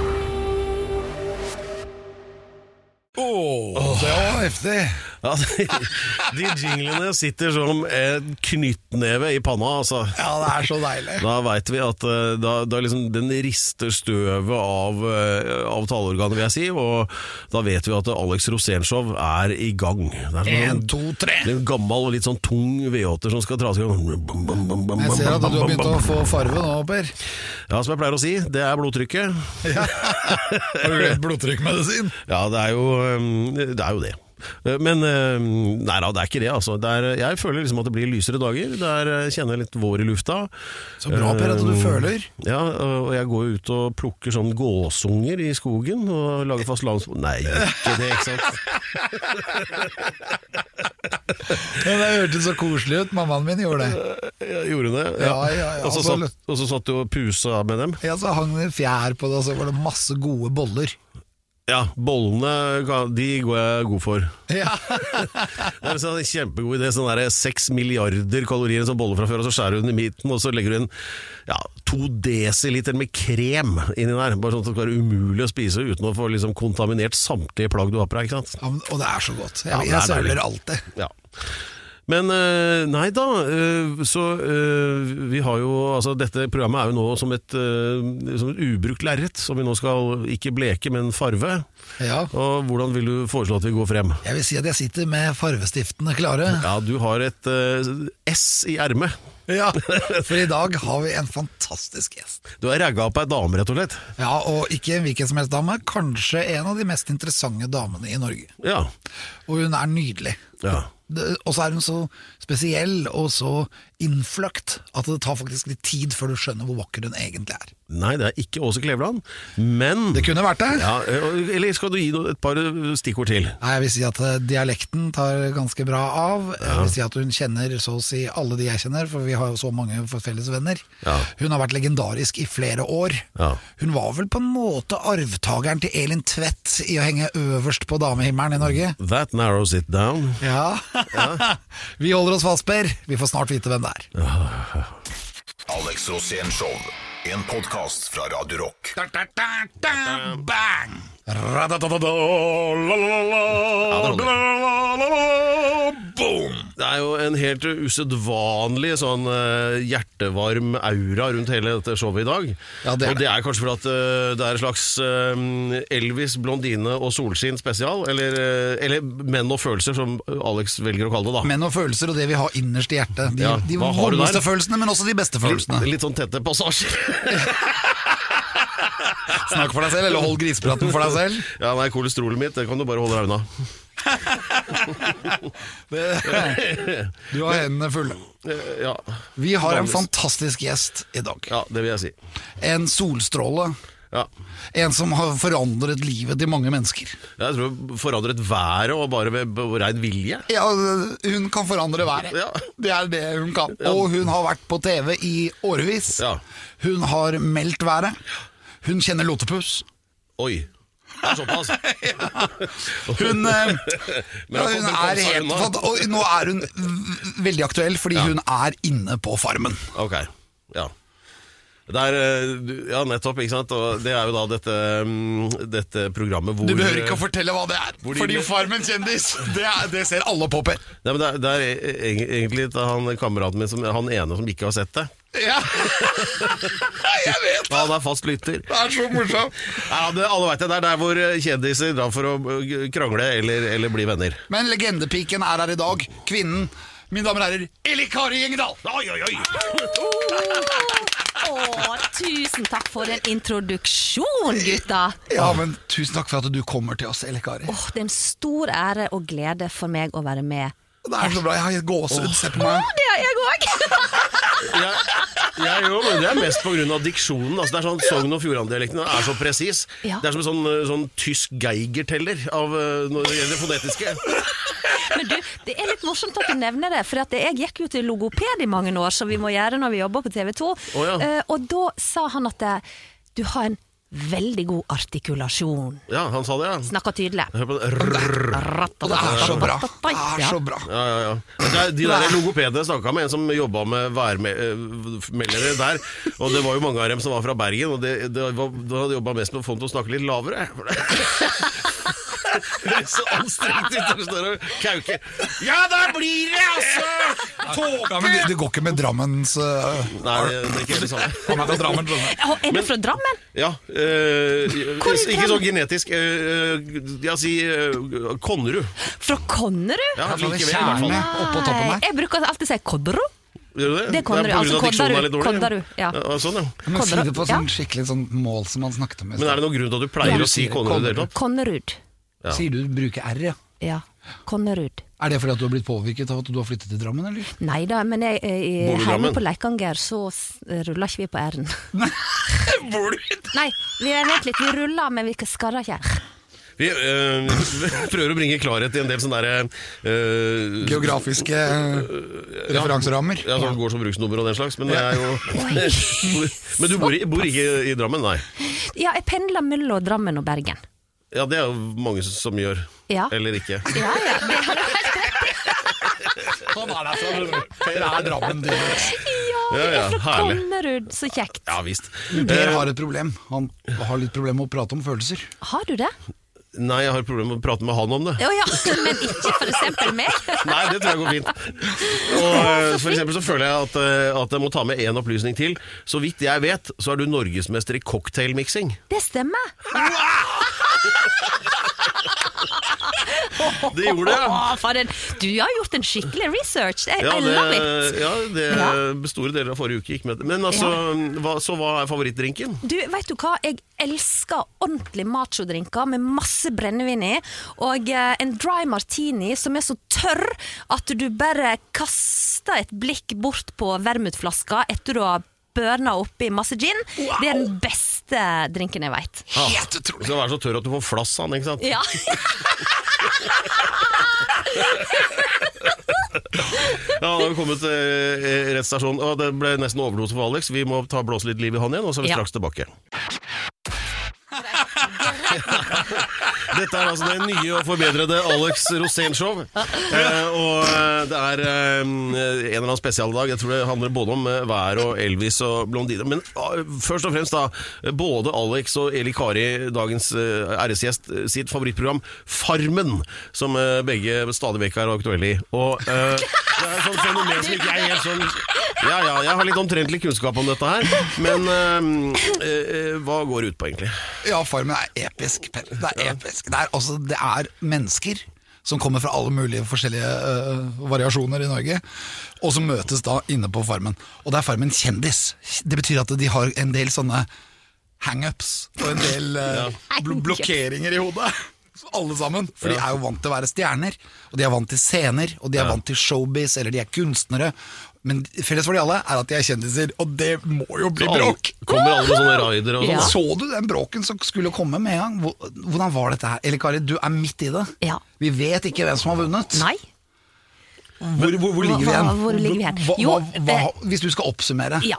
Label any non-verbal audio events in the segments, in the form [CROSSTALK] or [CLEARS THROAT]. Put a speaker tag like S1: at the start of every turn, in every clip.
S1: Åh, det var heftig.
S2: Ja, de, de jinglene sitter som en knyttneve i panna, altså.
S1: Ja, det er så deilig.
S2: Da veit vi at eh, da, da liksom den rister støvet av, eh, av taleorganet, vil jeg si. Og da vet vi at Alex Rosénshow er i gang. Det er sånn-
S1: En, to, tre.
S2: det er en gammel og litt sånn tung V8-er som skal dras i gang.
S1: Jeg
S2: Jeg
S1: ser at du har begynt å få farve nå, Per.
S2: Ja, som jeg pleier å si, det er blodtrykket.
S1: Har du glemt blodtrykkmedisin?
S2: Ja, det er jo øhm, det. Er jo det. Eh, Men øhm, nei da, det er ikke det. Altså. Det er, jeg føler liksom at det blir lysere dager. Det er, jeg kjenner litt vår i lufta.
S1: Så bra, Per, at du
S2: Eh,
S1: føler.
S2: Ja, og jeg går jo ut og plukker sånn gåsunger i skogen og lager fast lands... Nei, ikke det, ikke sant?
S1: Ja, det hørtes så koselig ut. Mammaen min gjorde det.
S2: Jeg gjorde det.
S1: [LAUGHS] Ja, ja, ja,
S2: og, så
S1: absolutt.
S2: satt, og så satt du og pusa med dem.
S1: Ja, Så hang det en fjær på det, og så var det masse gode boller.
S2: Ja, bollene ga- de går jeg god for.
S1: Ja,
S2: Det er en sånn kjempegod idé. Sånn der, 6 milliarder kalorier i en sånn bolle fra før, og så skjærer du den i midten, og så legger du inn ja, 2 desiliter med krem inni der. Bare sånn at det skal være umulig å spise uten å få liksom, kontaminert samtlige plagg du har på deg. ikke sant?
S1: Ja, men- Og det er så godt.
S2: Ja, det
S1: Jeg,
S2: er
S1: jeg søler
S2: deilig.
S1: alltid.
S2: Ja. Men eh, nei da, eh, så eh, vi har jo altså Dette programmet er jo nå som et, eh, som et ubrukt lerret, som vi nå skal ikke bleke, men farve.
S1: Ja.
S2: Og hvordan vil du foreslå at vi går frem?
S1: Jeg vil si at jeg sitter med farvestiftene klare.
S2: Ja, du har et eh, S i ermet. [LAUGHS]
S1: Ja. For i dag har vi en fantastisk gjest.
S2: Du har ragga opp ei dame, rett og slett.
S1: Ja, Og ikke en hvilken som helst dame, kanskje en av de mest interessante damene i Norge.
S2: Ja.
S1: Og hun er nydelig.
S2: ja.
S1: Det- Og så er hun så spesiell og så innfløkt at det tar faktisk litt tid før du skjønner hvor vakker hun egentlig er.
S2: Nei, det er ikke Åse Kleveland, men
S1: Det kunne vært det.
S2: ja, eh, Eller skal du gi noe- et par eh, stikkord til?
S1: Nei, Jeg vil si at eh, dialekten tar ganske bra av. Jeg vil si at Hun kjenner så å si alle de jeg kjenner, for vi har jo så mange felles venner.
S2: Ja.
S1: Hun har vært legendarisk i flere år.
S2: Ja.
S1: Hun var vel på en måte arvtakeren til Elin Tvedt i å henge øverst på damehimmelen i Norge.
S2: That narrows it down.
S1: Ja. [LAUGHS] vi holder oss fast, Per. Vi får snart vite hvem det er.
S3: Alex Rosén Show. En podkast fra Radio Rock.
S2: Det er jo en helt usedvanlig sånn eh, hjertevarm aura rundt hele dette showet i dag.
S1: Ja, det er
S2: og det er kanskje fordi at eh, det er en slags eh, Elvis, blondine og solskinn spesial. Eller, eh, eller menn og følelser, som Alex velger å kalle det. da
S1: Menn og følelser og det vi har innerst i hjertet. De,
S2: Ja,
S1: de
S2: hva har du der?
S1: vondeste følelsene, men også de beste
S2: Litt,
S1: følelsene.
S2: litt sånn tette passasjer. [LAUGHS]
S1: Snakk for deg selv, eller hold grisepraten for deg [LAUGHS] selv.
S2: Ja, nei, kolesterolet mitt, det kan du bare holde deg unna.
S1: Du har hendene fulle.
S2: Eh, [LAUGHS] Ja,
S1: Vi har en
S2: Vanligvis.
S1: fantastisk gjest i dag.
S2: ja det vil jeg si.
S1: En solstråle.
S2: Ja.
S1: En som har forandret livet til mange mennesker.
S2: Jeg tror jeg forandret været og bare ved b- rein vilje.
S1: Ja, hun kan forandre været.
S2: Ja.
S1: Det er det hun kan. Og hun har vært på TV i årevis.
S2: Ja.
S1: Hun har meldt været. Hun kjenner lotepus.
S2: Oi. Det er
S1: [LAUGHS]
S2: såpass.
S1: Hun, eh,
S2: Men
S1: ja,
S2: han
S1: hun
S2: kom- kom
S1: er
S2: seg
S1: helt
S2: unna.
S1: fant- Og nå er hun v- veldig aktuell, fordi hun er inne på Farmen.
S2: Ok, ja det er, eh, du- ja, nettopp, ikke sant? Og det er jo da dette, mm, dette programmet hvor
S1: Du behøver ikke å fortelle hva det er, fordi Farmen kjendis, det, er, det ser alle på, Per.
S2: Nei, men det er, det er e- e- egentlig et- han kameraten min, som, han ene som ikke har sett det
S4: Ja.
S1: [LAUGHS]
S4: jeg vet det!
S2: Han er fast lytter.
S4: Det er så morsomt.
S2: Ja, det, alle vet det, det er der hvor eh, kjendiser drar for å eh, krangle eller, eller bli venner.
S1: Men legendepiken er her i dag. Kvinnen, mine damer og herrer, Eli Kari Engedal!
S2: Oi, oi, oi!
S5: Å, tusen takk for en introduksjon, gutta!
S1: Ja, men tusen takk for at du kommer til oss, Eli Kari.
S5: Åh, det er en stor ære og glede for meg å være med.
S1: Det er så bra. Jeg har gitt gåsehud. Se på meg.
S5: Det er jeg òg!
S2: Jeg, jeg jo, men det er mest pga. diksjonen. Altså, det er sånn Sogn og Fjordane-dialekten er så presis.
S5: Ja.
S2: Det er som en sånn, eh, sånn tysk Geiger-teller av eh, når det gjelder det fonetiske.
S5: [LAUGHS] Men du, det er litt morsomt at du nevner det, for at jeg gikk jo til logoped i mange år, som vi må gjøre når vi jobber på TV 2,
S2: ja.
S5: og da sa han at eh, du har en veldig god artikulasjon.
S2: Ja, han sa det, ja.
S5: Snakker tydelig.
S2: Hør på det. Rrrr.
S1: Og det er så bra. Det er
S5: Ja.
S1: så bra.
S2: Ja, ja, ja. Det er, de der logopedene snakka med en som jobba med værmeldere der. Og det var jo mange av dem som var fra Bergen, og det, det var, de hadde jobba mest med å få dem til å snakke litt lavere. For det [LAUGHS] Høres så anstrengt ut når du står og kauker. Ja, da blir det altså
S1: Ja, men det, det går ikke med Drammens øh,
S2: Nei, det det er ikke helt det samme.
S1: Han er fra Drammen, skjønner du.
S5: Å, Er du fra Drammen?
S2: Ja, øh, ikke så genetisk. Øh, ja, si øh, Konnerud.
S5: Fra Konnerud?
S2: Ja,
S1: fra
S2: likevel, i hvert fall.
S1: Tjerne. Oppå toppen
S5: Nei,
S1: her.
S5: Jeg bruker alltid å si Kodderud.
S2: Gjør du det?
S5: Det er Konnerud,
S2: på grunn
S5: altså
S2: av diksjonen er
S5: Kodderud,
S2: litt dårlig.
S5: Kodderud, ja.
S2: Sånn, ja.
S1: Men si det på sånn
S5: Ja.
S1: skikkelig sånn mål som han snakket om i
S2: Men er
S1: stad.
S2: det noen grunn til at du pleier
S1: Ja,
S2: å si
S1: sier
S2: Konnerud i det hele tatt?
S5: Konnerud.
S2: Ja.
S1: Sier du du bruker R, ja.
S5: Ja. Konnerud.
S1: Er det fordi at du har blitt påvirket av at du har flyttet til Drammen, eller?
S5: Nei da, men jeg, jeg,
S2: Bor du i
S5: hjemme
S2: Drammen?
S5: på Leikanger så s- ruller ikke vi på
S2: [LAUGHS]
S5: R-en. Nei, vi er vent litt, vi ruller, men vi skarrer ikke.
S2: Vi øh, [LAUGHS] prøver å bringe klarhet i en del sånne der, eh, øh,
S1: Geografiske øh, referanserammer.
S2: ja, som går som bruksnummer og den slags, men det er [LAUGHS] jo Men du bor, i, bor ikke i Drammen, nei?
S5: Ja, jeg pendler mellom Drammen og Bergen.
S2: Ja, det er jo mange som gjør.
S5: Ja.
S2: Eller
S5: [LAUGHS]
S2: ikke.
S5: Ja, ja, det er
S1: Han er derfra, skjønner du. Per er Drammen, det.
S5: ja,
S2: [LAUGHS] Ja,
S5: jeg
S2: ja,
S5: er fra
S2: herlig.
S5: Konnerud, så kjekt.
S2: Ja visst. Eh,
S1: Per har et problem. Han har litt problemer med å prate om følelser.
S5: Har du det?
S2: Nei, jeg har problemer med å prate med han om det.
S5: Å ja, men ikke for eksempel meg.
S2: Nei, det tror jeg går fint. Og eh, for eksempel så føler jeg at, eh, at jeg må ta med én opplysning til. Så vidt jeg vet, så er du norgesmester i cocktailmiksing.
S5: Det stemmer.
S2: Det gjorde jeg.
S5: Å, for en, du har gjort en skikkelig research. I, I love it.
S2: det, ja, det
S5: Ja.
S2: store deler av forrige uke gikk med det. Men altså, hva, så hva er favorittdrinken?
S5: Du, vet du hva? Jeg elsker ordentlig machodrinker med masse brennevin i. Og eh, en dry martini som er så tørr at du bare kaster et blikk bort på vermutflaska etter du har børna oppi masse gin. Det er den beste drinken jeg veit.
S2: Helt utrolig! Du skal være så tørr at du får flass av den, ikke sant?
S5: Ja.
S2: Ja, da har vi kommet til eh, rett stasjon. Og det ble nesten overdose for Alex. Vi må ta blåse litt liv i han igjen, og så er vi
S5: Ja.
S2: straks tilbake. Dette er altså det nye og forbedrede Alex Rosén-show. Eh, og eh, det er eh, en eller annen spesialdag. Jeg tror det handler både om eh, vær og Elvis og blondine. Men ah, først og fremst, da. Både Alex og Eli Kari, dagens eh, æresgjest, eh, sitt favorittprogram Farmen, som eh, begge stadig vekk er aktuelle i. Og eh, det er et sånt fenomen som ikke er helt sånn Ja ja, jeg har litt omtrentlig kunnskap om dette her, men eh, eh, hva går det ut på, egentlig?
S1: Ja, Farmen er episk, Per. Det er episk. Det er, altså, det er mennesker som kommer fra alle mulige forskjellige øh, variasjoner i Norge, og som møtes da inne på Farmen. Og det er Farmen kjendis. Det betyr at de har en del sånne hangups og en del øh, bl blokkeringer i hodet. Alle sammen, for de er jo vant til å være stjerner, og de er vant til scener, og de er vant til showbiz, eller de er kunstnere. Men felles for de alle er at de er kjendiser, og det må jo bli bråk!
S2: Kommer alle med sånne raider og sånn?
S5: Ja.
S1: Så du den bråken som skulle komme med en gang? Hvor- Hvordan var dette her? Eller Kari, du er midt i det.
S5: Ja.
S1: Vi vet ikke hvem som har vunnet.
S5: Nei.
S1: Hvor, hvor, hvor ligger vi
S5: Hva-
S1: hen?
S5: hvor ligger vi hen?
S1: Hva,
S5: Jo, eh,
S1: hva, hva, hvis du skal oppsummere.
S5: Ja.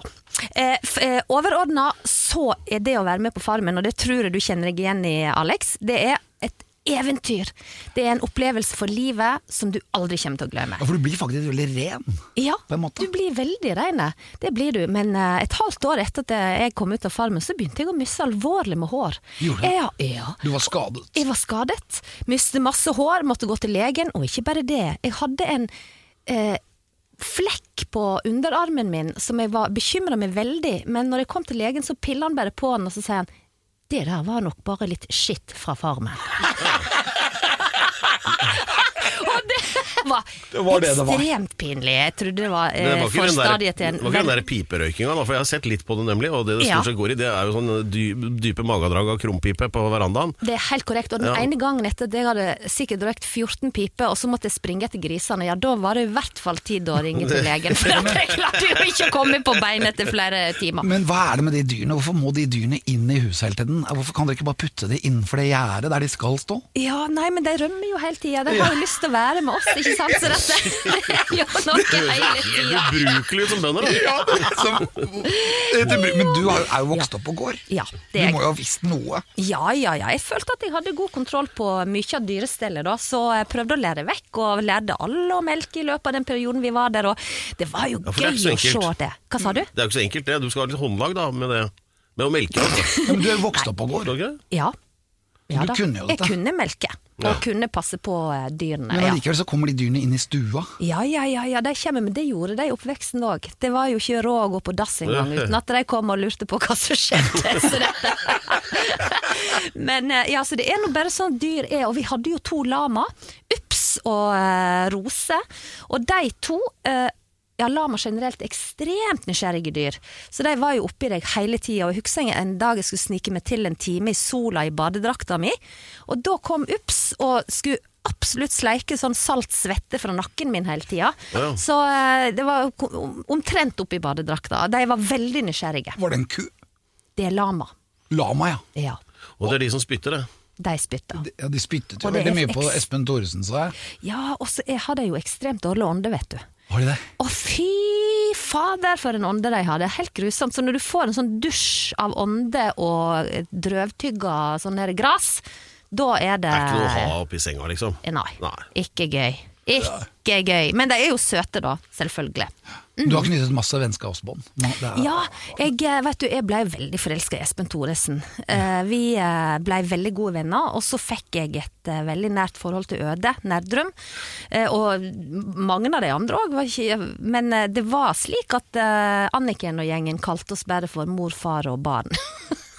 S5: Eh, f- eh, Overordna så er det å være med på Farmen, og det tror jeg du kjenner deg igjen i, Alex, det er et eventyr. Det er en opplevelse for livet som du aldri kommer til å glemme.
S1: Ja, For du blir faktisk veldig ren.
S5: Ja,
S1: på en måte.
S5: du blir veldig rein. Det blir du. Men eh, et halvt år etter at jeg kom ut av Farmen, så begynte jeg å miste alvorlig med hår.
S1: Gjorde du?
S5: Ja, ja.
S1: Du var skadet.
S5: Jeg var skadet, mistet masse hår, måtte gå til legen, og ikke bare det. Jeg hadde en eh, flekk på underarmen min som jeg var bekymra meg veldig, men når jeg kom til legen, så pilla han bare på den, og så sier han det der var nok bare litt skitt fra far min. [LAUGHS] og det var,
S1: var det det var.
S5: ekstremt pinlig. Jeg trodde det var,
S2: Men det
S5: eh,
S2: var ikke den der,
S5: forstadiet til en
S2: det var ikke den der piperøykinga, da, for jeg har sett litt på det, nemlig. Og det det
S5: Ja.
S2: stort sett går i, det er jo sånn dy, dype magedrag av krumpipe på verandaen.
S5: Det er helt korrekt. Og den
S2: Ja.
S5: ene gangen etter det jeg hadde sikkert røykt 14 piper, og så måtte jeg springe etter grisene, ja da var det i hvert fall tid å ringe til legen. For at jeg klarte jo ikke å komme på bein etter flere timer.
S1: Men hva er det med de dyrene? Hvorfor må de dyrene inn i huset hele tiden? Hvorfor kan dere ikke bare putte de innenfor det gjerdet der de skal stå?
S5: Ja, nei, men de rømmer jo hele tida. De har jo lyst til å være med oss, ikke sant? Så dette [LAUGHS] det er jo noe hele tida.
S2: Ubrukelig som
S5: [LAUGHS]
S2: bønder, da.
S1: Ja,
S2: [LAUGHS]
S1: som, det, men du har jo- er jo vokst opp på gård.
S5: Ja,
S1: Du
S5: det er-
S1: må jo ha visst noe.
S5: Ja, ja, ja. Jeg følte at jeg hadde god kontroll på mye av dyrestellet, da, så jeg prøvde å lære vekk, og lærte alle å melke i løpet av den perioden vi var der, og det var jo
S2: Ja, for det er
S5: gøy
S2: ikke så
S5: å se
S2: enkelt.
S5: det. Hva sa du?
S2: Det er jo ikke så enkelt, det. Du skal ha litt håndlag da, med det. Med å melke. altså.
S1: Men du er jo vokst opp på gård.
S2: Skal du ikke?
S5: Ja.
S1: du kunne jo dette.
S5: Jeg kunne melke, og kunne passe på eh, dyrene.
S1: Men
S5: Ja.
S1: allikevel så kommer de dyrene inn i stua.
S5: ja, ja, ja, ja, de kommer, men det gjorde de i oppveksten òg. Det var jo ikke råd å gå på dass engang uten at de kom og lurte på hva som skjedde. Så det- men eh, ja, så det er nå bare sånn dyr er, og vi hadde jo to lama, Ups og eh, Rose, og de to eh, ja, lama generelt er ekstremt nysgjerrige dyr, så de var jo oppi deg hele tida. Og jeg husker jeg en dag jeg skulle snike meg til en time i sola i badedrakta mi, og da kom Ups og skulle absolutt sleike sånn salt svette fra nakken min hele tida.
S2: Ja.
S5: Så eh, det var jo kom- om- omtrent oppi badedrakta. De var veldig nysgjerrige.
S1: Var det en ku?
S5: Det er lama.
S1: Lama, ja.
S5: Ja,
S2: Og det er de som spytter, det.
S5: de spytta.
S1: Ja, De spyttet jo
S5: Og det er
S1: veldig mye på
S5: eks-
S1: Espen Thoresen, sa jeg.
S5: Ja, og så er- har de jo ekstremt dårlig ånde, vet du.
S1: Var det det?
S5: Å, fy fader, for en ånde de har. Det er helt grusomt. Så når du får en sånn dusj av ånde og eh, drøvtygga sånn der gress, da er det
S2: Det er ikke noe å ha oppi senga, liksom.
S5: Eh. Nei.
S2: Nei.
S5: Ikke gøy. Ikke gøy. Men de er jo søte, da. Selvfølgelig.
S1: Du har knyttet masse vennskapsbånd. Ma- det er-
S5: Ja, jeg, eh, vet du, jeg ble veldig forelska i Espen Thoresen. Eh, vi eh, ble veldig gode venner, og så fikk jeg et eh, veldig nært forhold til Øde Nerdrum. Eh, og mange av de andre òg. Men eh, det var slik at eh, Anniken og gjengen kalte oss bare for mor, far og barn.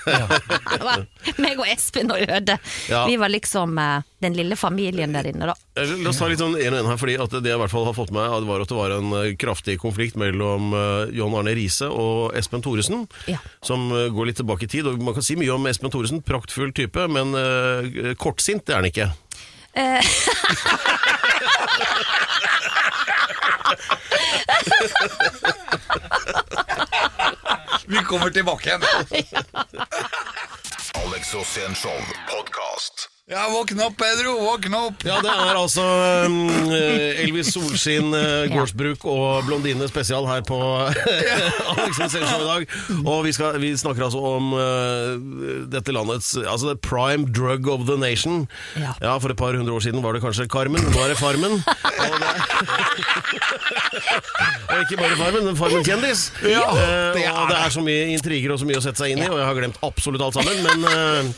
S5: Det var Meg og Espen og Øde.
S2: Ja.
S5: Vi var liksom eh, den lille familien der inne, da.
S2: Eller, La oss ta litt sånn en og en her, fordi at det jeg i hvert fall har fått med meg, var at det var en eh, kraftig konflikt mellom eh, John Arne Riise og Espen Thoresen,
S5: Ja.
S2: som eh, går litt tilbake i tid. Og man kan si mye om Espen Thoresen, praktfull type, men eh, kortsint det er han ikke.
S5: Eh,
S1: Vi kommer tilbake
S5: [LAUGHS]
S1: igjen.
S3: Alex Rosén-show podkast.
S1: Ja, våkne opp, Pedro, våkne opp!
S2: Ja, det er altså um, Elvis Solskin, uh, gårdsbruk og blondine spesial her på [LAUGHS] Alex Sensation i dag. Og vi, skal, vi snakker altså om uh, dette landets altså det prime drug of the nation.
S5: Ja.
S2: ja, for et par hundre år siden var det kanskje Carmen, nå er det Farmen. Og, det, [LAUGHS] og ikke bare Farmen, men Farmen kjendis.
S1: Ja,
S2: Eh,
S1: det er
S2: og det
S1: det.
S2: er så mye intriger og så mye å sette seg inn i, og jeg har glemt absolutt alt sammen. Men eh,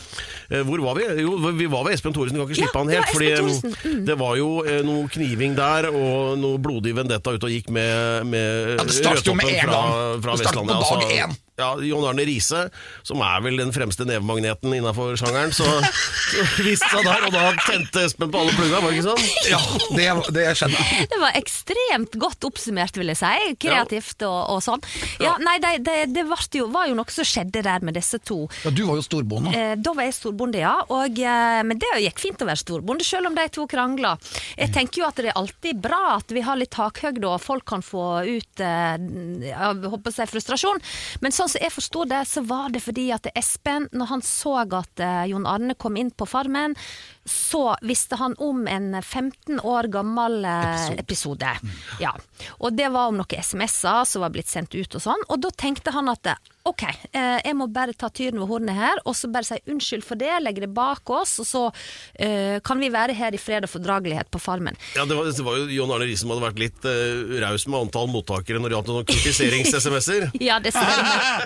S2: eh, hvor var vi? Jo, vi var ved Espen Thoresen, kan ikke
S5: Ja,
S2: slippe han
S5: det
S2: helt.
S5: var
S2: Fordi
S5: Espen Mm.
S2: eh, det var jo eh, noe kniving der, og noe blodig vendetta ut og gikk med, med
S1: Ja, det startet jo med
S2: rødtoppen
S1: en
S2: fra,
S1: gang.
S2: fra
S1: Det startet
S2: Vestlandet. Altså,
S1: på dag én.
S2: ja, John Arne Riise, som er vel den fremste nevemagneten innafor sjangeren,
S5: [LAUGHS]
S2: så, så viste seg der, og da tente Espen på alle plugga, var det ikke sånn?
S1: Ja, det, det skjedde.
S5: [LAUGHS] Det var ekstremt godt oppsummert, vil jeg si. Kreativt og, og sånn. Ja, nei, det, det, det vart jo, var jo noe som skjedde der med disse to.
S1: Ja, du var jo storbonde.
S5: Eh, da var jeg storbonde, ja. Og, eh, men det gikk fint å være storbonde, selv om de to krangla. Jeg tenker jo at det er alltid bra at vi har litt takhøyde, og folk kan få ut eh, jeg håper seg frustrasjon. Men sånn som jeg forsto det, så var det fordi at Espen, når han så at eh, Jon Arne kom inn på Farmen, så visste han om en 15 år gammel eh, episode. Ja. Og det var om noen SMS-er som var blitt sendt ut og sånn. Og da tenkte han at ok, eh, jeg må bare ta tyren ved hornet her, og så bare si unnskyld for det, legge det bak oss, og så eh, kan vi være her i fred og fordragelighet på Farmen.
S2: Ja, det var, det var jo John Arne Riise som hadde vært litt eh, raus med antall mottakere når det gjaldt noen
S1: [LAUGHS]
S2: kritiserings-SMS-er.
S5: Ja, det stemmer.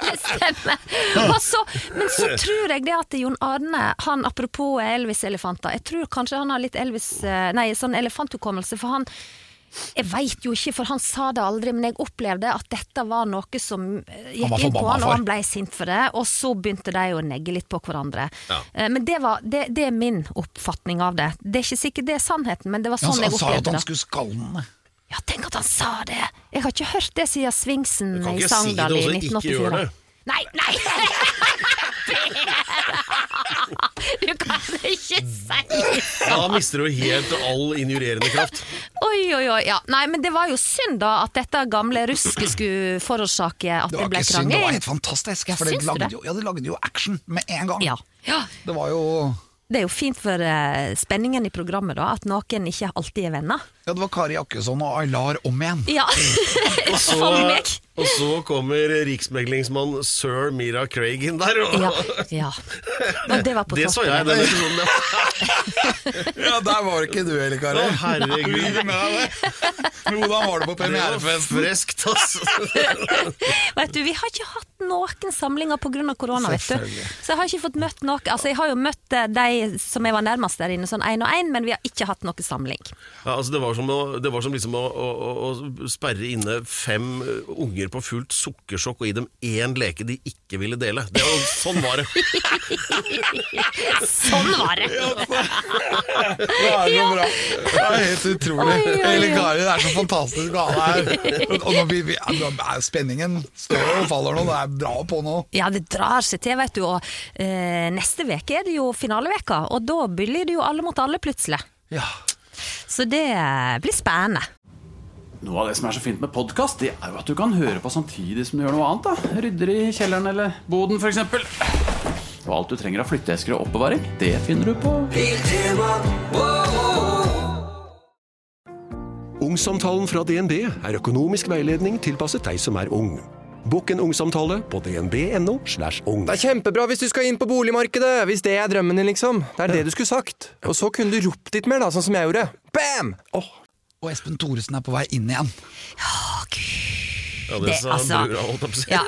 S5: det stemmer. Og så, men så tror jeg det at Jon Arne, han apropos Elvis-elefanter, jeg tror kanskje han har litt Elvis, eh, nei, sånn elefanthukommelse, for han Jeg veit jo ikke, for han sa det aldri, men jeg opplevde at dette var noe som eh,
S1: Han var
S5: gikk inn på
S1: forbanna
S5: han,
S1: for.
S5: og han ble sint for det. Og så begynte de å negge litt på hverandre. Eh, Men det, var, det, det er min oppfatning av det. Det er ikke sikkert det er sannheten, men det var
S1: Han,
S5: sånn
S1: sa-
S5: jeg
S1: han sa jo at
S5: opplevde
S1: han
S5: det.
S1: skulle skalle den.
S5: Ja, tenk at han sa det! Jeg har ikke hørt det siden Svingsen
S2: kan
S5: i
S2: ikke si
S5: Sogndal
S2: det, og
S5: i
S2: så ikke
S5: 1984.
S2: gjøre det.
S5: Nei, nei! [LAUGHS] Du kan ikke si
S2: Da mister du helt all injurerende
S5: [LAUGHS]
S2: kraft.
S5: Oi, oi, oi. Ja. Nei, men det var jo synd da at dette gamle rusket skulle forårsake at
S1: Det
S5: det,
S1: var
S5: ble
S1: ikke synd, det var
S5: krangel.
S1: helt fantastisk.
S5: Ja,
S1: For det
S5: syns du
S1: lagde,
S5: det?
S1: jo, ja, det lagde jo action med en gang.
S5: Ja. ja.
S1: Det var jo
S5: Det er jo fint for eh, spenningen i programmet da, at noen ikke alltid er venner.
S1: Ja, det var Kari Jakkesson og Aylar om igjen.
S5: Ja, for meg.
S2: og så kommer riksmeglingsmann sir Mira Craig inn der. Og,
S5: Ja, ja. Og det var på
S2: [LAUGHS] det så jeg i
S5: toppen.
S2: den episoden.
S1: Ja, der var ikke du heller, Kari.
S2: Å, herregud.
S1: Lyver med deg. [LAUGHS] Hvordan var det på
S2: Det var
S1: premierefesten?
S2: freskt, altså.
S5: Vet du, vi har ikke hatt noen samlinger pga. korona, vet du.
S1: Selvfølgelig.
S5: Så jeg har ikke fått møtt noe. Altså, jeg har jo møtt eh, de som jeg var nærmest der inne, sånn én og én, men vi har ikke hatt noen samling.
S2: Ja, altså det var som, å, det var som liksom å, å, å å sperre inne fem eh, unger på fullt sukkersjokk og gi dem én leke de ikke ville dele. Det var, sånn var det.
S5: [LAUGHS] Sånn var det!
S1: Det er så bra. Det er helt utrolig.
S5: Oi, oi, oi.
S1: Eller Kari, det er så fantastisk å ha deg her. Og når vi, vi, ja, nå er spenningen står og faller nå, det er bra på nå.
S5: Ja, det drar seg til, vet du. Og eh, neste uke er det jo finaleveka, og da blir det jo alle mot alle plutselig.
S1: Ja.
S5: Så det blir spennende.
S6: Noe av det som er så fint med podkast, det er jo at du kan høre på samtidig som du gjør noe annet. da Rydder i kjelleren eller boden, f.eks. Og alt du trenger av flytteesker og oppbevaring, det finner du på
S7: Ungsamtalen fra DNB er økonomisk veiledning tilpasset deg som er ung. Bokk en ungsamtale på dnb.no. slash ung.
S4: Det er kjempebra hvis du skal inn på boligmarkedet, hvis det er drømmen din, liksom. Det er det du skulle sagt. Og så kunne du ropt litt mer, da, sånn som jeg gjorde. Bam!
S1: Og Espen Thoresen er på vei inn igjen.
S5: Å, gud.
S2: Ja, det,
S5: Det,
S2: sa
S5: altså-
S2: brura, holdt jeg på å si.
S5: Ja.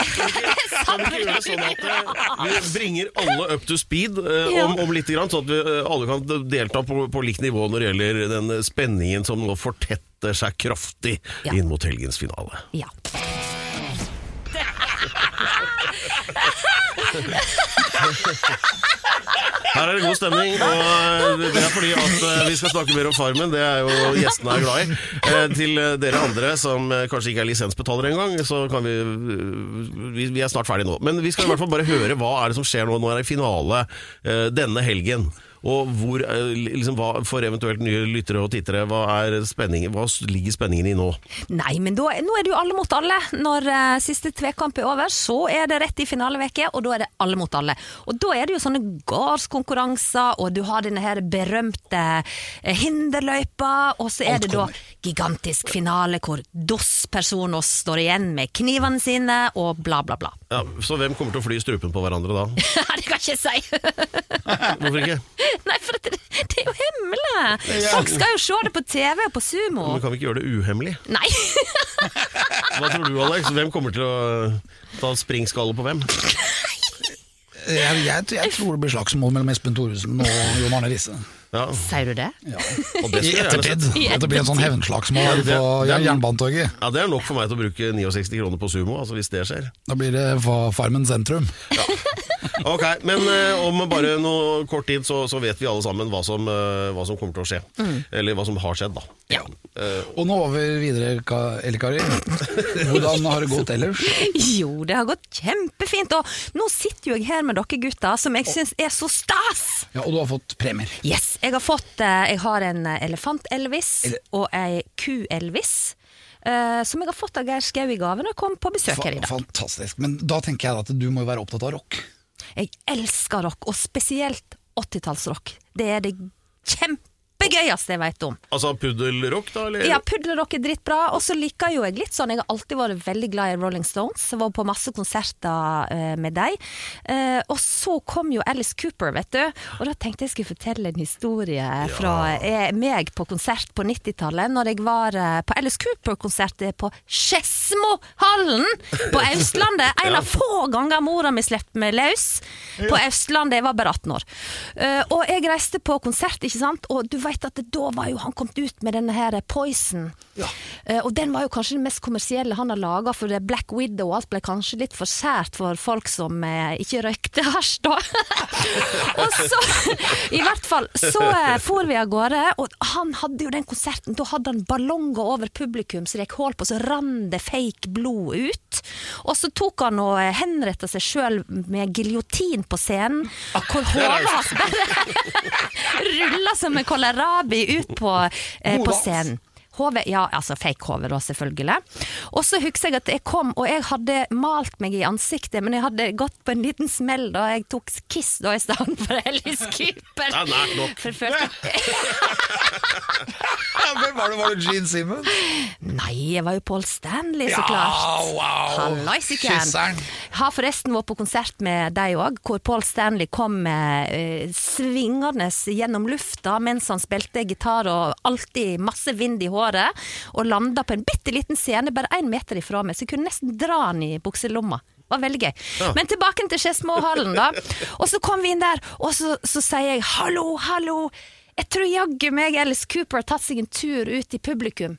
S5: [LAUGHS] eh, vi-
S2: Kan vi ikke gjøre det sånn at eh, vi bringer alle up to speed eh,
S5: Ja.
S2: om, om litt, grann, sånn at vi eh, alle kan delta på, på likt nivå når det gjelder den eh, spenningen som nå fortetter seg kraftig
S5: Ja.
S2: inn mot helgens finale.
S5: ja.
S2: Her er det god stemning, og eh, det er fordi at eh, vi skal snakke mer om Farmen. Det er jo gjestene er glad i. Eh, Til eh, dere andre som eh, kanskje ikke er lisensbetalere engang, så kan vi eh, vi- Vi er snart ferdige nå. Men vi skal i hvert fall bare høre hva er det som skjer nå. Nå er det finale eh, denne helgen. Og hvor, eh, liksom, hva, for eventuelt nye lyttere og tittere, hva, er spenningen, hva ligger spenningen i nå?
S5: Nei, men da, nå er det jo alle mot alle. Når eh, siste tvekamp er over, så er det rett i finaleveke, og da er det alle mot alle. Og da er det jo sånne gardskonkurranser, og du har denne her berømte eh, hinderløypa, og så er
S1: Alt
S5: det da
S1: kommer.
S5: gigantisk finale hvor DOS-personer står igjen med knivene sine, og bla, bla, [LAUGHS] bla.
S2: Ja, så hvem kommer til å fly i strupen på hverandre da?
S5: det kan jeg ikke si! [LAUGHS]
S2: Hvorfor ikke?
S5: Nei, for det, det er jo hemmelig! Folk skal jo se det på TV og på Sumo.
S2: Men kan vi ikke gjøre det uhemmelig?
S5: Nei! [LAUGHS]
S2: Hva tror du, Alex? Hvem kommer til å eh, ta springskalle på hvem?
S1: Jeg, jeg, jeg tror det blir slagsmål mellom Espen Thoresen og Jon Arne Risse.
S2: Ja,
S5: Sier du det?
S2: og det
S1: I
S2: skulle jeg gjerne
S1: ettertid.
S2: sett.
S5: I
S1: Det blir en sånn hevnslagsmål
S2: det-
S1: på
S2: det er-
S1: Jernbanetorget.
S2: Ja, Det er nok for meg til å bruke 69 kroner på sumo, altså hvis det skjer.
S1: Da blir det Fa- Farmen sentrum.
S2: Ok, Men eh, om bare noe kort tid så, så vet vi alle sammen hva som, eh, hva som kommer til å skje.
S5: Mm.
S2: Eller hva som har skjedd, da.
S5: Ja.
S2: Eh,
S1: Og nå over videre, Ka- Elle
S2: [LAUGHS]
S1: Kari. Hvordan har det gått ellers?
S5: [LAUGHS] Jo, det har gått kjempefint. Og nå sitter jo jeg her med dere gutter, som jeg syns er så stas!
S1: Ja, Og du har fått premier.
S5: Yes, jeg har fått eh, Jeg har en eh, elefant-Elvis og ei ku-Elvis. eh, som jeg har fått av Geir Skau i gave når jeg kom på besøk her i
S1: Fa-
S5: dag.
S1: Fantastisk. Men da tenker jeg at du må jo være opptatt av rock.
S5: Jeg elsker rock, og spesielt 80-tallsrock. Det er det kjempegøyeste jeg veit om.
S2: altså puddelrock, da? Eller?
S5: Ja, puddelrock er drittbra, og så liker jo jeg litt sånn Jeg har alltid vært veldig glad i Rolling Stones, jeg var på masse konserter eh, med dem. Eh, og så kom jo Alice Cooper, vet du, og da tenkte jeg skulle fortelle en historie fra eh, meg på konsert på 90-tallet, når jeg var eh, på Alice Cooper-konsert eh, på Skedsmohallen på Østlandet. En av få ganger mora mi slapp meg løs på Østlandet, jeg var bare 18 år. Eh, og jeg reiste på konsert, ikke sant, og du veit klart at det, da var jo han kommet ut med denne her Poison. Eh, og den var jo kanskje den mest kommersielle han har laga, for det Black Widow og alt ble kanskje litt for sært for folk som eh, ikke røykte hasj, da. [LAUGHS] og så, i hvert fall, så eh, for vi av gårde, og han hadde jo den konserten, da hadde han ballonger over publikum som det gikk hull på, så rann det fake blod ut. Og så tok han og eh, henretta seg sjøl med giljotin på scenen, hvor hodet hans rulla som en altså, kålrabi ut på, eh, på
S8: Hodet.
S5: scenen. HV, ja, altså fake HV da, selvfølgelig. Og så husker jeg at jeg kom, og jeg hadde malt meg i ansiktet, men jeg hadde gått på en liten smell da jeg tok Kiss da i stedet for Alice Cooper.
S8: [LAUGHS] Ja, nært nok.
S5: For jeg følte...
S9: Hvem var det? Var det Gene Simmons?
S5: Nei, jeg var jo Paul Stanley, så
S9: Ja,
S5: klart.
S9: wow.
S5: Hallaisiken.
S9: Kysseren.
S5: Har forresten vært på konsert med deg òg, hvor Paul Stanley kom eh, svingende gjennom lufta mens han spilte gitar og alltid masse vind i håret, og landa på en bitte liten scene bare én meter ifra meg, så jeg kunne nesten dra han i bukselomma. Det var veldig gøy.
S8: Ja.
S5: Men tilbake til Skedsmohallen, da. Og så kom vi inn der, og så, så sier jeg 'hallo, hallo'. Jeg tror jaggu meg Alice Cooper har tatt seg en tur ut i publikum.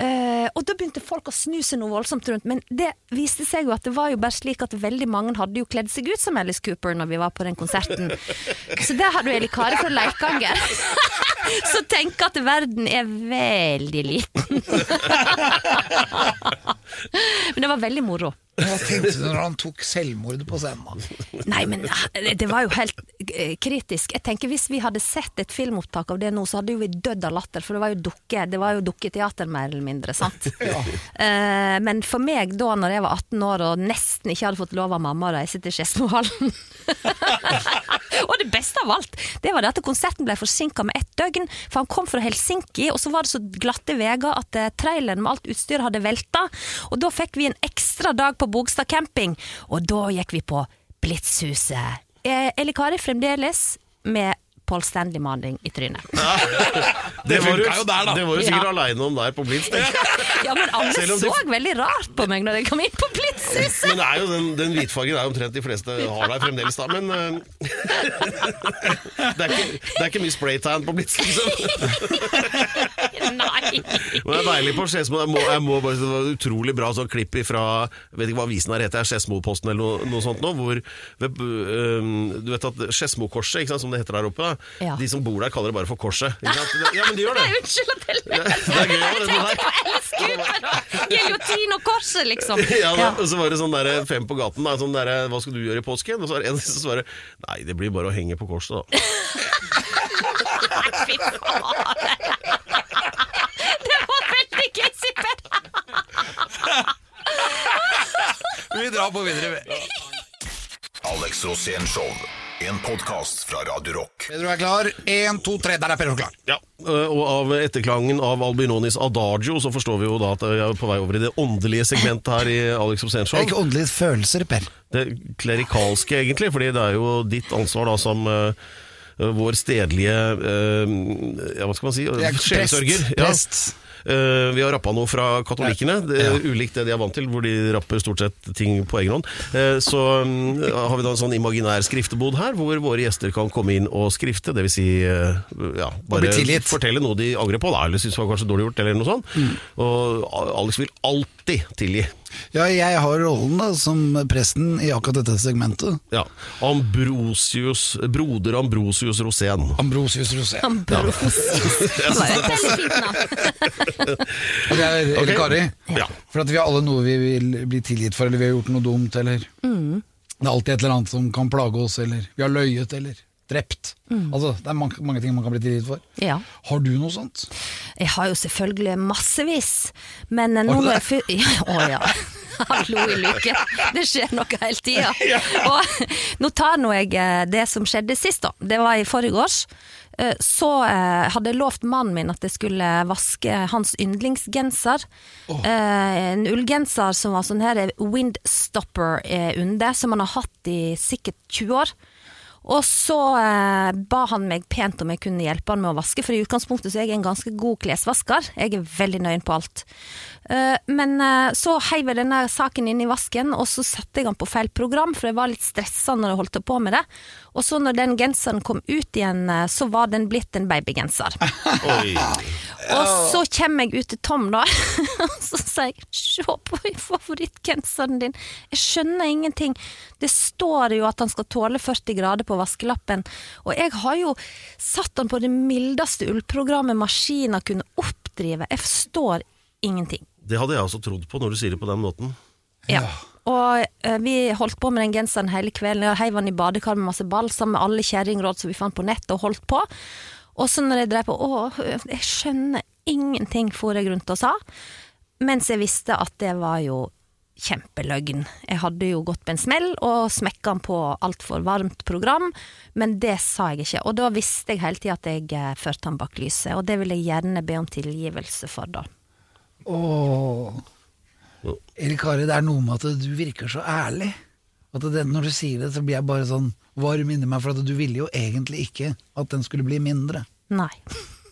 S5: Eh, og da begynte folk å snu seg noe voldsomt rundt, men det viste seg jo at det var jo bare slik at veldig mange hadde jo kledd seg ut som Alice Cooper når vi var på den konserten. Så der har du Eli Kari fra Leikanger. [LAUGHS] Så tenk at verden er veldig liten. [LAUGHS] Men det var veldig moro.
S9: Hva tenkte du når han tok selvmord på scenen? da?
S5: Nei, men eh, det var jo helt eh, kritisk. Jeg tenker Hvis vi hadde sett et filmopptak av det nå, så hadde jo vi dødd av latter, for det var jo dukke, det var jo dukketeater mer eller mindre. sant? Eh, men for meg da når jeg var 18 år og nesten ikke hadde fått lov av mamma å reise til Skedsmohallen [LAUGHS] Og det beste av alt, det var det at konserten ble forsinka med ett døgn, for han kom fra Helsinki, og så var det så glatte veier at eh, traileren med alt utstyret hadde velta. Og da fikk vi en ekstra dag på Bogstad camping, og da gikk vi på Blitzhuset. Eh, Eli Kari fremdeles med Paul Stanley-maling i trynet. [LAUGHS]
S2: Det var du-
S5: funka jo der, da.
S2: Det var du sikkert
S5: Ja.
S2: aleine om der på Blitz. tenker jeg.
S5: Ja, men alle
S2: Selv om de-
S5: så veldig rart på meg når jeg kom inn på
S2: [LAUGHS]
S5: Blitzhuset!
S2: Men det er jo den, den hvitfargen er jo omtrent de fleste har der fremdeles, da. Men eh, [LAUGHS] det, er ikke, det er ikke mye spraytan på Blitz, liksom.
S5: Nei!
S2: Men det er deilig på Skedsmo. Jeg, må- jeg må bare si Det var et utrolig bra sånn klipp fra vet ikke hva avisen her heter, Skedsmoposten eller noe, noe sånt nå, hvor ved, øhm, Du vet at Skedsmokorset, ikke sant, som det heter der oppe, da.
S8: Ja.
S2: De som bor der, kaller det bare for Korset. Ikke sant? Ja, men de gjør det.
S5: [LAUGHS] Unnskyld at jeg
S2: Ja, det er gøy, det er
S5: Jeg tenkte på Alice Cooper og giljotin og korset, liksom.
S2: [LAUGHS]
S5: [LAUGHS]
S2: Ja, da,
S5: Ja.
S2: og så var det sånn der fem på gaten. Da, sånn der, hva skal du gjøre i påsken? Og så var det en som svarer Nei, det blir bare å henge på korset, da.
S8: Fy faen. Det var veldig gøy, Sippen.
S1: Vi drar på videre. vi.
S3: Alex Rosén Show. En podkast fra Radio Rock.
S9: Pedro er klar. Én, to, tre. Der er Pedro klar.
S2: Ja. Eh, Og av etterklangen av Albinonis Adagio så forstår vi jo da at vi er på vei over i det åndelige segmentet her i Alex
S9: Det er
S2: Obsensjon.
S9: ikke åndelige følelser, Per.
S2: Det klerikalske, egentlig, fordi det er jo ditt ansvar da som eh, vår stedlige eh, Ja, hva skal man si?
S9: Jeg er prest.
S2: Sjelesørger.
S9: Prest.
S2: Eh, vi har rappa noe fra katolikkene, det er ulikt det de er vant til, hvor de rapper stort sett ting på egen hånd. Eh, så mm, har vi da en sånn imaginær skriftebod her, hvor våre gjester kan komme inn og skrifte. Dvs. Si, eh, ja, bare
S9: bli tilgitt. Mm.
S2: fortelle noe de angrer på, da, eller syns var kanskje dårlig gjort, eller noe sånt. Og Alex vil alltid tilgi.
S9: Ja, jeg har rollen da, som presten i akkurat dette segmentet.
S2: Ja. Ambrosius, broder Ambrosius Rosén.
S9: Ambrosius Rosén.
S8: Veldig fint navn.
S9: Og det er Eli
S2: Ok.
S9: Kari.
S2: Ja.
S9: For at vi har alle noe vi vil bli tilgitt for, eller vi har gjort noe dumt, eller
S8: Mm.
S9: Det er alltid et eller annet som kan plage oss, eller vi har løyet, eller drept.
S5: Mm.
S9: Altså, det er mange, mange ting man kan bli tilgitt for.
S5: Ja.
S9: Har du noe sånt?
S5: Jeg har jo selvfølgelig massevis, men eh, nå
S9: Har du
S5: må jeg
S9: det?
S5: fyr... Ja, [LAUGHS] å ja. Hallo i luken. Det skjer noe hele tida. Og nå tar nå jeg eh, det som skjedde sist, da. Det var i forgårs. Eh, Så eh, hadde jeg lovt mannen min at jeg skulle vaske hans yndlingsgenser. Eh, En ullgenser som var sånn her eh, windstopper eh, under, som han har hatt i sikkert 20 år. Og så eh, ba han meg pent om jeg kunne hjelpe han med å vaske, for i utgangspunktet så er jeg en ganske god klesvasker. Jeg er veldig nøyen på alt. Eh, men eh, så heiv jeg denne saken inn i vasken, og så satte jeg han på feil program, for jeg var litt stressa når jeg holdt på med det. Og så når den genseren kom ut igjen, eh, så var den blitt en babygenser. Og så kommer jeg ut til Tom, da, [LAUGHS] og så sier jeg 'se på favorittgenseren din'. Jeg skjønner ingenting. Det står jo at han skal tåle 40 grader på vaskelappen, og jeg har jo satt han på det mildeste ullprogrammet maskiner kunne oppdrive. Jeg forstår ingenting.
S2: Det hadde jeg også trodd på når du sier det på den måten.
S5: Ja. Og eh, vi holdt på med den genseren hele kvelden. Jeg heiv den i badekar med masse balsam med alle kjerringråd som vi fant på nettet, og holdt på. Og så når jeg drev på Å, jeg skjønner ingenting, for jeg rundt og sa. Mens jeg visste at det var jo kjempeløgn. Jeg hadde jo gått på en smell og smekka den på altfor varmt program, men det sa jeg ikke. Og da visste jeg hele tida at jeg eh, førte han bak lyset, og det vil jeg gjerne be om tilgivelse for, da.
S9: Åh. Eller Kari, det er noe med at du virker så ærlig. At det, når du sier det, så blir jeg bare sånn varm inni meg, for at du ville jo egentlig ikke at den skulle bli mindre.
S5: Nei.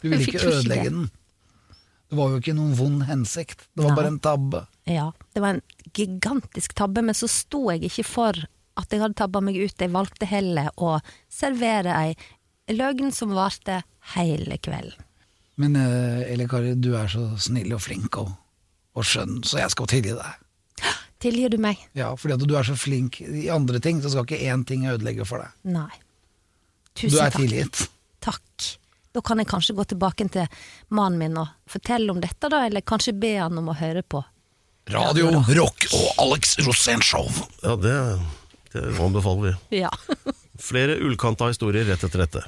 S9: Du ville
S5: Jeg fikk
S9: ikke
S5: jo ikke
S9: ødelegge
S5: det.
S9: den. Det var jo ikke noen vond hensikt. Det var
S5: Nei.
S9: bare en tabbe.
S5: Ja, det var en gigantisk tabbe, men så sto jeg ikke for at jeg hadde tabba meg ut. Jeg valgte heller å servere ei løgn som varte hele kvelden.
S9: Men eh, Eli Kari, du er så snill og flink og, og skjønn, så jeg skal tilgi deg.
S5: Tilgir du meg?
S9: Ja, fordi at du er så flink i andre ting, så skal ikke én ting ødelegge for deg.
S5: Nei.
S9: du
S5: Tusen
S9: er
S5: takk.
S9: tilgitt.
S5: Takk. Da kan jeg kanskje gå tilbake til mannen min og fortelle om dette, da, eller kanskje be han om å høre på.
S1: Radio Rock og Alex Rosén Show.
S2: Ja, det, det anbefaler vi.
S5: Ja. [LAUGHS]
S2: Flere ullkanta historier rett etter dette.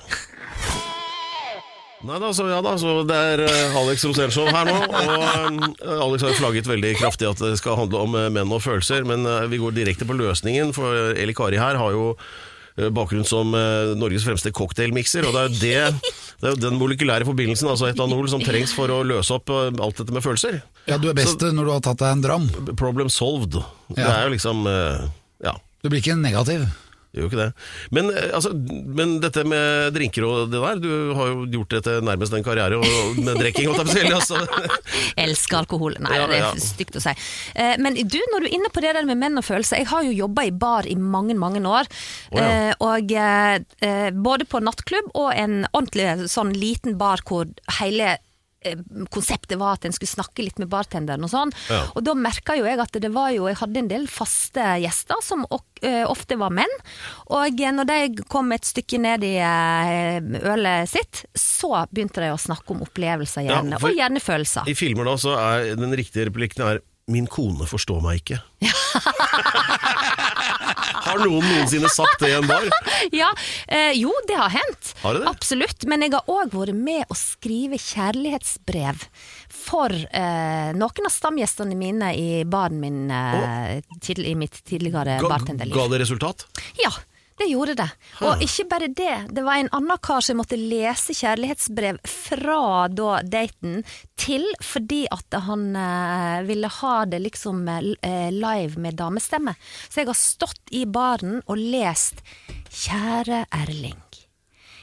S2: Nei da, så ja da, så det er eh, Alex Rosenshov her nå. Og eh, Alex har jo flagget veldig kraftig at det skal handle om eh, menn og følelser, men eh, vi går direkte på løsningen, for Eli Kari her har jo eh, bakgrunn som eh, Norges fremste cocktailmikser, og det er jo det det er jo den molekylære forbindelsen, altså etanol, som trengs for å løse opp eh, alt dette med følelser.
S9: Ja, du er best når du har tatt deg en dram.
S2: Problem solved. Det
S9: Ja.
S2: er jo liksom eh, Ja.
S9: Du blir ikke negativ.
S2: Det gjør jo ikke det. Men, eh, altså, men dette med drinker og det der, du har jo gjort dette nærmest en karriere og- og med drikking. holdt jeg på å si, eller, altså.
S5: [LAUGHS] Elsker alkohol. Nei,
S2: Ja,
S5: det
S2: ja.
S5: er stygt å si. Eh, Men du, når du er inne på det der med menn og følelser, jeg har jo jobba i bar i mange, mange år.
S8: Å, ja.
S5: Eh, Og eh, eh, både på nattklubb og en ordentlig sånn liten bar hvor hele eh, Konseptet var at en skulle snakke litt med bartenderen og sånn.
S8: Ja.
S5: Og da merka jo jeg at det var jo Jeg hadde en del faste gjester som ok- eh, ofte var menn. Og eh, når de kom et stykke ned i eh, ølet sitt, så begynte de å snakke om opplevelser,
S2: Ja,
S5: gjerne.
S2: for-
S5: og gjerne følelser.
S2: I filmer da, så er den riktige replikken er 'Min kone forstår meg ikke'. har noen noensinne sagt det i en bar?
S5: ja, eh, jo, det har hendt.
S2: Har det det?
S5: Absolutt. Men jeg har òg vært med å skrive kjærlighetsbrev for eh, noen av stamgjestene mine i baren min eh, til, i mitt tidligere
S2: Ga,
S5: bartenderliv.
S2: ga det resultat?
S5: Ja, det gjorde det. Og ikke bare det, det var en annen kar som måtte lese kjærlighetsbrev fra da daten til fordi at han eh, ville ha det liksom eh, live med damestemme. Så jeg har stått i baren og lest 'Kjære Erling'.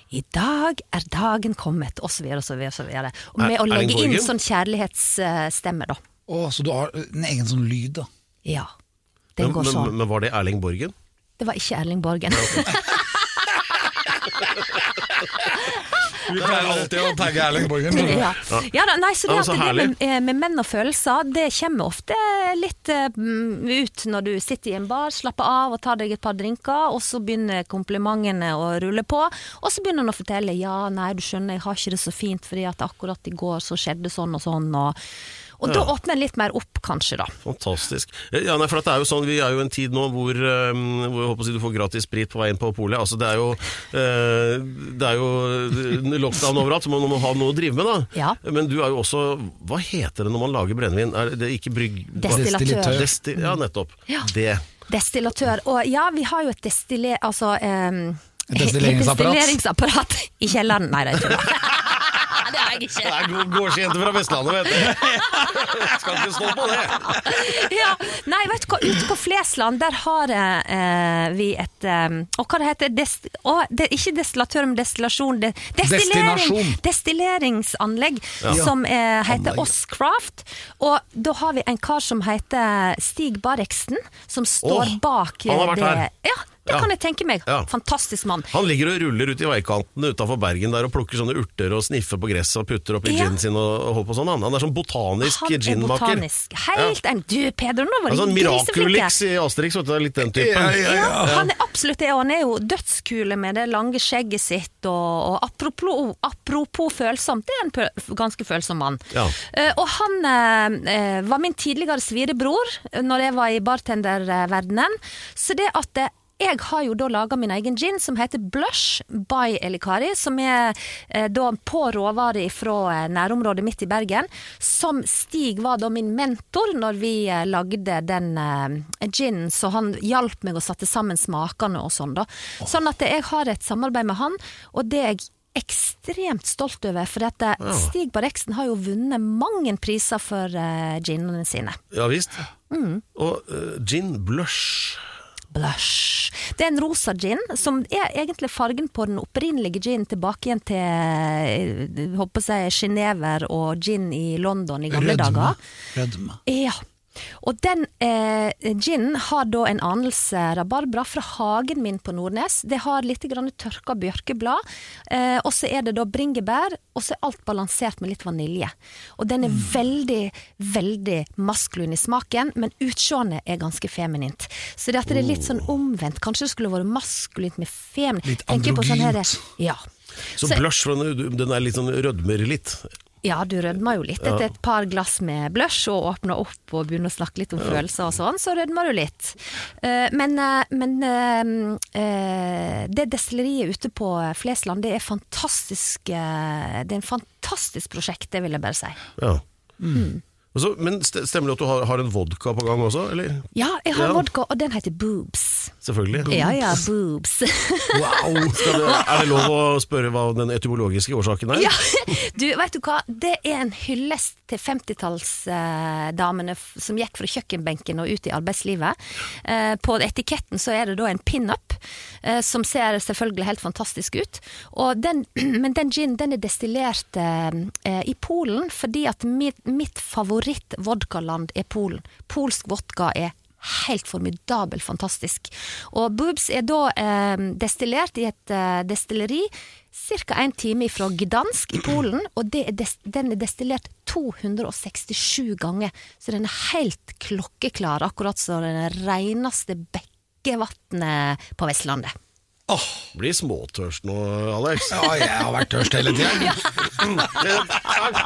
S5: I dag er dagen kommet, og så videre og så videre. Og så videre. Og med
S9: Er-
S5: å
S9: Erling
S5: legge inn
S9: Borgen?
S5: sånn kjærlighetsstemme, da.
S9: Å, så du har en egen sånn lyd, da.
S5: Ja. Den
S2: Men,
S5: går sånn.
S2: men, men var det Erling Borgen?
S5: Det var ikke Erling Borgen.
S1: Vi pleier alltid å tagge Erling Borgen.
S5: Ja. Ja da, nei, så det,
S1: Ja,
S5: at
S1: så
S5: det
S1: herlig.
S5: med, eh, med menn og følelser, det kommer ofte litt eh, mm, ut når du sitter i en bar, slapper av og tar deg et par drinker, og så begynner komplimentene å rulle på, og så begynner han å fortelle ja, nei, du skjønner, jeg har ikke det så fint fordi at akkurat i går så skjedde sånn og sånn, og, og da
S2: Ja.
S5: åpner en litt mer opp, kanskje, da.
S2: Fantastisk. Ja, nei, for at det er jo sånn, Vi er jo i en tid nå hvor, eh, hvor jeg håper å si, du får gratis sprit på vei inn på polet. Altså, det er jo, eh, det er jo eh, lockdown overalt, så man må ha noe å drive med. da. Men du er jo også Hva heter det når man lager brennevin? Er det ikke brygg...
S5: Destillatør.
S2: Desti ja, nettopp.
S5: Ja.
S2: Det.
S5: Destillatør. Og ja, vi har jo et destiller... Altså ehm,
S2: Et destilleringsapparat.
S5: [LAUGHS] destilleringsapparat i kjelleren. Nei, det [LAUGHS] er ikke det.
S8: Nei, det er jeg
S2: Det
S8: ikke.
S2: er god- gårdsjente fra Vestlandet, vet du. Jeg [LAUGHS] skal ikke stå på det.
S5: [LAUGHS] ja. Nei, vet du hva, ute på Flesland der har eh, vi et eh, Og hva det heter dest, å, det? er Ikke destillatør, men destillasjon. Det, destillering,
S8: Destinasjon.
S5: destilleringsanlegg
S8: Ja.
S5: som eh, heter
S8: Anlegg.
S5: Oscraft. Og da har vi en kar som heter Stig Barreksen, som står
S2: Åh,
S5: bak
S2: han har vært
S5: det.
S2: her.
S5: Ja, det
S2: Ja.
S5: kan jeg tenke meg.
S2: Ja.
S5: Fantastisk mann.
S2: Han ligger og ruller ut i veikantene utafor Bergen der og plukker sånne urter og sniffer på gresset og putter oppi
S5: Ja.
S2: ginen sin og, og holder på sånn. Han, han er sånn botanisk
S5: Han er
S2: ginmaker.
S5: botanisk. Helt en Du, Peder,
S2: Ja.
S5: nå
S2: Han er
S5: var du
S2: sånn
S5: griseflink.
S2: Miraculix i Asterix, vet du. det er Litt den typen.
S5: Ja, han er absolutt det, og han er jo dødskule med det lange skjegget sitt, og, og apropos, apropos følsomt, det er en pø- ganske følsom mann.
S8: Ja.
S5: Eh, og han eh, eh, var min tidligere svirebror eh, når jeg var i bartenderverdenen, så det at eh, jeg har jo da laga min egen gin som heter Blush by Elikari, som er eh, da på råvarer fra eh, nærområdet mitt i Bergen. Som Stig var da min mentor når vi eh, lagde den eh, ginen, så han hjalp meg og satte sammen smakene og sånn, da. Sånn at jeg har et samarbeid med han, og det er jeg ekstremt stolt over. For at eh,
S2: Ja.
S5: Stig Barreksen har jo vunnet mange priser for eh, ginene sine.
S2: Ja visst.
S5: Mm.
S2: Og eh, gin blush.
S5: Blush. Det er en rosa gin, som er egentlig fargen på den opprinnelige ginen tilbake igjen til eh, håper jeg, Genever og gin i London i gamle
S9: Rødme.
S5: dager.
S9: Rødme.
S5: Ja. Og den eh, ginen har da en anelse rabarbra fra hagen min på Nordnes. Det har litt grann tørka bjørkeblad, eh, og så er det da bringebær, og så er alt balansert med litt vanilje. Og den er
S2: Mm.
S5: veldig, veldig maskulin i smaken, men utseendet er ganske feminint. Så det at det er litt sånn omvendt. Kanskje det skulle vært maskulint med feminin.
S2: Litt
S5: Tenker på sånn her-
S2: androgynt.
S5: Ja.
S2: Så,
S5: Så-
S2: blush, for den, den er litt sånn rødmer litt.
S5: Ja, du rødmer jo litt
S2: Ja.
S5: etter et par glass med blush og åpner opp og begynner å snakke litt om
S2: Ja.
S5: følelser og sånn, så rødmer du litt. Eh, Men, eh, men eh, eh, det destilleriet ute på Flesland, det er fantastisk eh, Det er en fantastisk prosjekt, det vil jeg bare si.
S2: Ja.
S5: Mm.
S2: Og så, men st- stemmer det at du har, har en vodka på gang også, eller?
S5: Ja, jeg har
S2: Ja.
S5: vodka, og den heter Boobs.
S2: Selvfølgelig.
S5: Ja ja, boobs. [LAUGHS]
S2: Wow! Skal det, er det lov å spørre hva den etymologiske årsaken er?
S5: Ja, du, vet du hva? Det er en hyllest til 50-tallsdamene som gikk fra kjøkkenbenken og ut i arbeidslivet. Eh, på etiketten så er det da en pinup, eh, som ser selvfølgelig helt fantastisk ut. Og den, [CLEARS THROAT] men den ginen den er destillert eh, i Polen, fordi at mitt, mitt favoritt-vodkaland er Polen. Polsk vodka er helt formidabel fantastisk. Og Boobs er da eh, destillert i et eh, destilleri ca. en time fra Gdansk i Polen, og det er des den er destillert 267 ganger. Så den er helt klokkeklar, akkurat som det reneste bekkevannet på Vestlandet.
S2: Blir småtørst nå, Alex.
S1: Ja, jeg har vært tørst hele tida.
S2: Ja. Det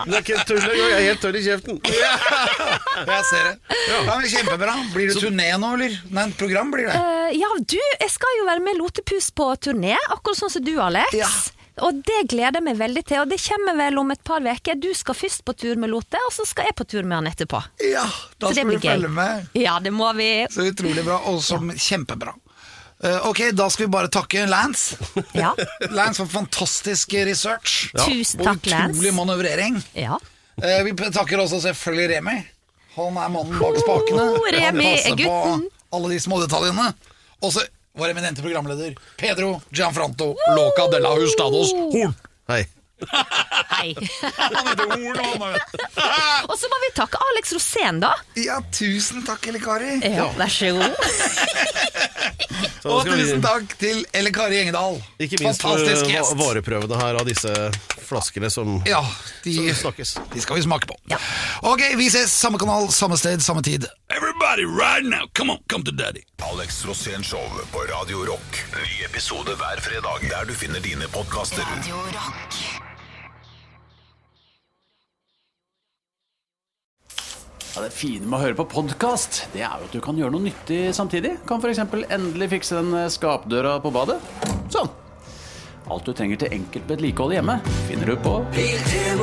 S2: er ikke tull engang, jeg er helt tørr i kjeften.
S1: Jeg ser det. Ja, men Kjempebra. Blir det turné nå, eller? Nei, et program blir det.
S5: Eh, ja, du, jeg skal jo være med Lotepus på turné, akkurat sånn som du, Alex. Og det gleder jeg meg veldig til, og det kommer vel om et par uker. Du skal først på tur med Lote, og så skal jeg på tur med han etterpå.
S1: Ja, da
S5: Så det
S1: skal
S5: blir
S1: vi
S5: gøy.
S1: følge med.
S5: Ja, det må vi.
S1: Så utrolig bra, og som kjempebra. Eh, ok, da skal vi bare takke Lance. Lance for fantastisk research.
S5: Ja. Tusen takk,
S1: Og
S5: Lance.
S1: utrolig manøvrering. Eh, vi takker også selvfølgelig Remi. Han er mannen bak spakene.
S5: Ho, Remi
S1: Han
S5: er
S1: passer på
S5: gutten.
S1: alle de små detaljene. Og så vår eminente programleder Pedro Gianfranto Loca de la Hustados Horn.
S2: Hei.
S5: Hei. og så må vi takke Alex Rosén, da.
S1: Ja, tusen takk, Elle Kari.
S5: Ja, vær så god.
S2: Så
S1: Og
S2: skal vi-
S1: tusen takk til Elle Kari Engedal.
S2: Ikke minst for
S1: Fantastisk
S2: eh,
S1: gjest.
S2: va- vareprøvene her av disse flaskene som
S1: Ja, de, de skal vi smake på. Ok, vi ses. Samme kanal, samme sted, samme tid.
S3: Everybody right now, come on, come to daddy Alex Rosén Show på Radio Rock Ny episode hver fredag Der du finner dine podcaster Radio Rock
S6: Ja, det fine med å høre på podkast, det er jo at du kan gjøre noe nyttig samtidig. Kan f.eks. endelig fikse den eh, skapdøra på badet. Sånn. Alt du trenger til enkelt vedlikehold hjemme, finner du på
S8: P3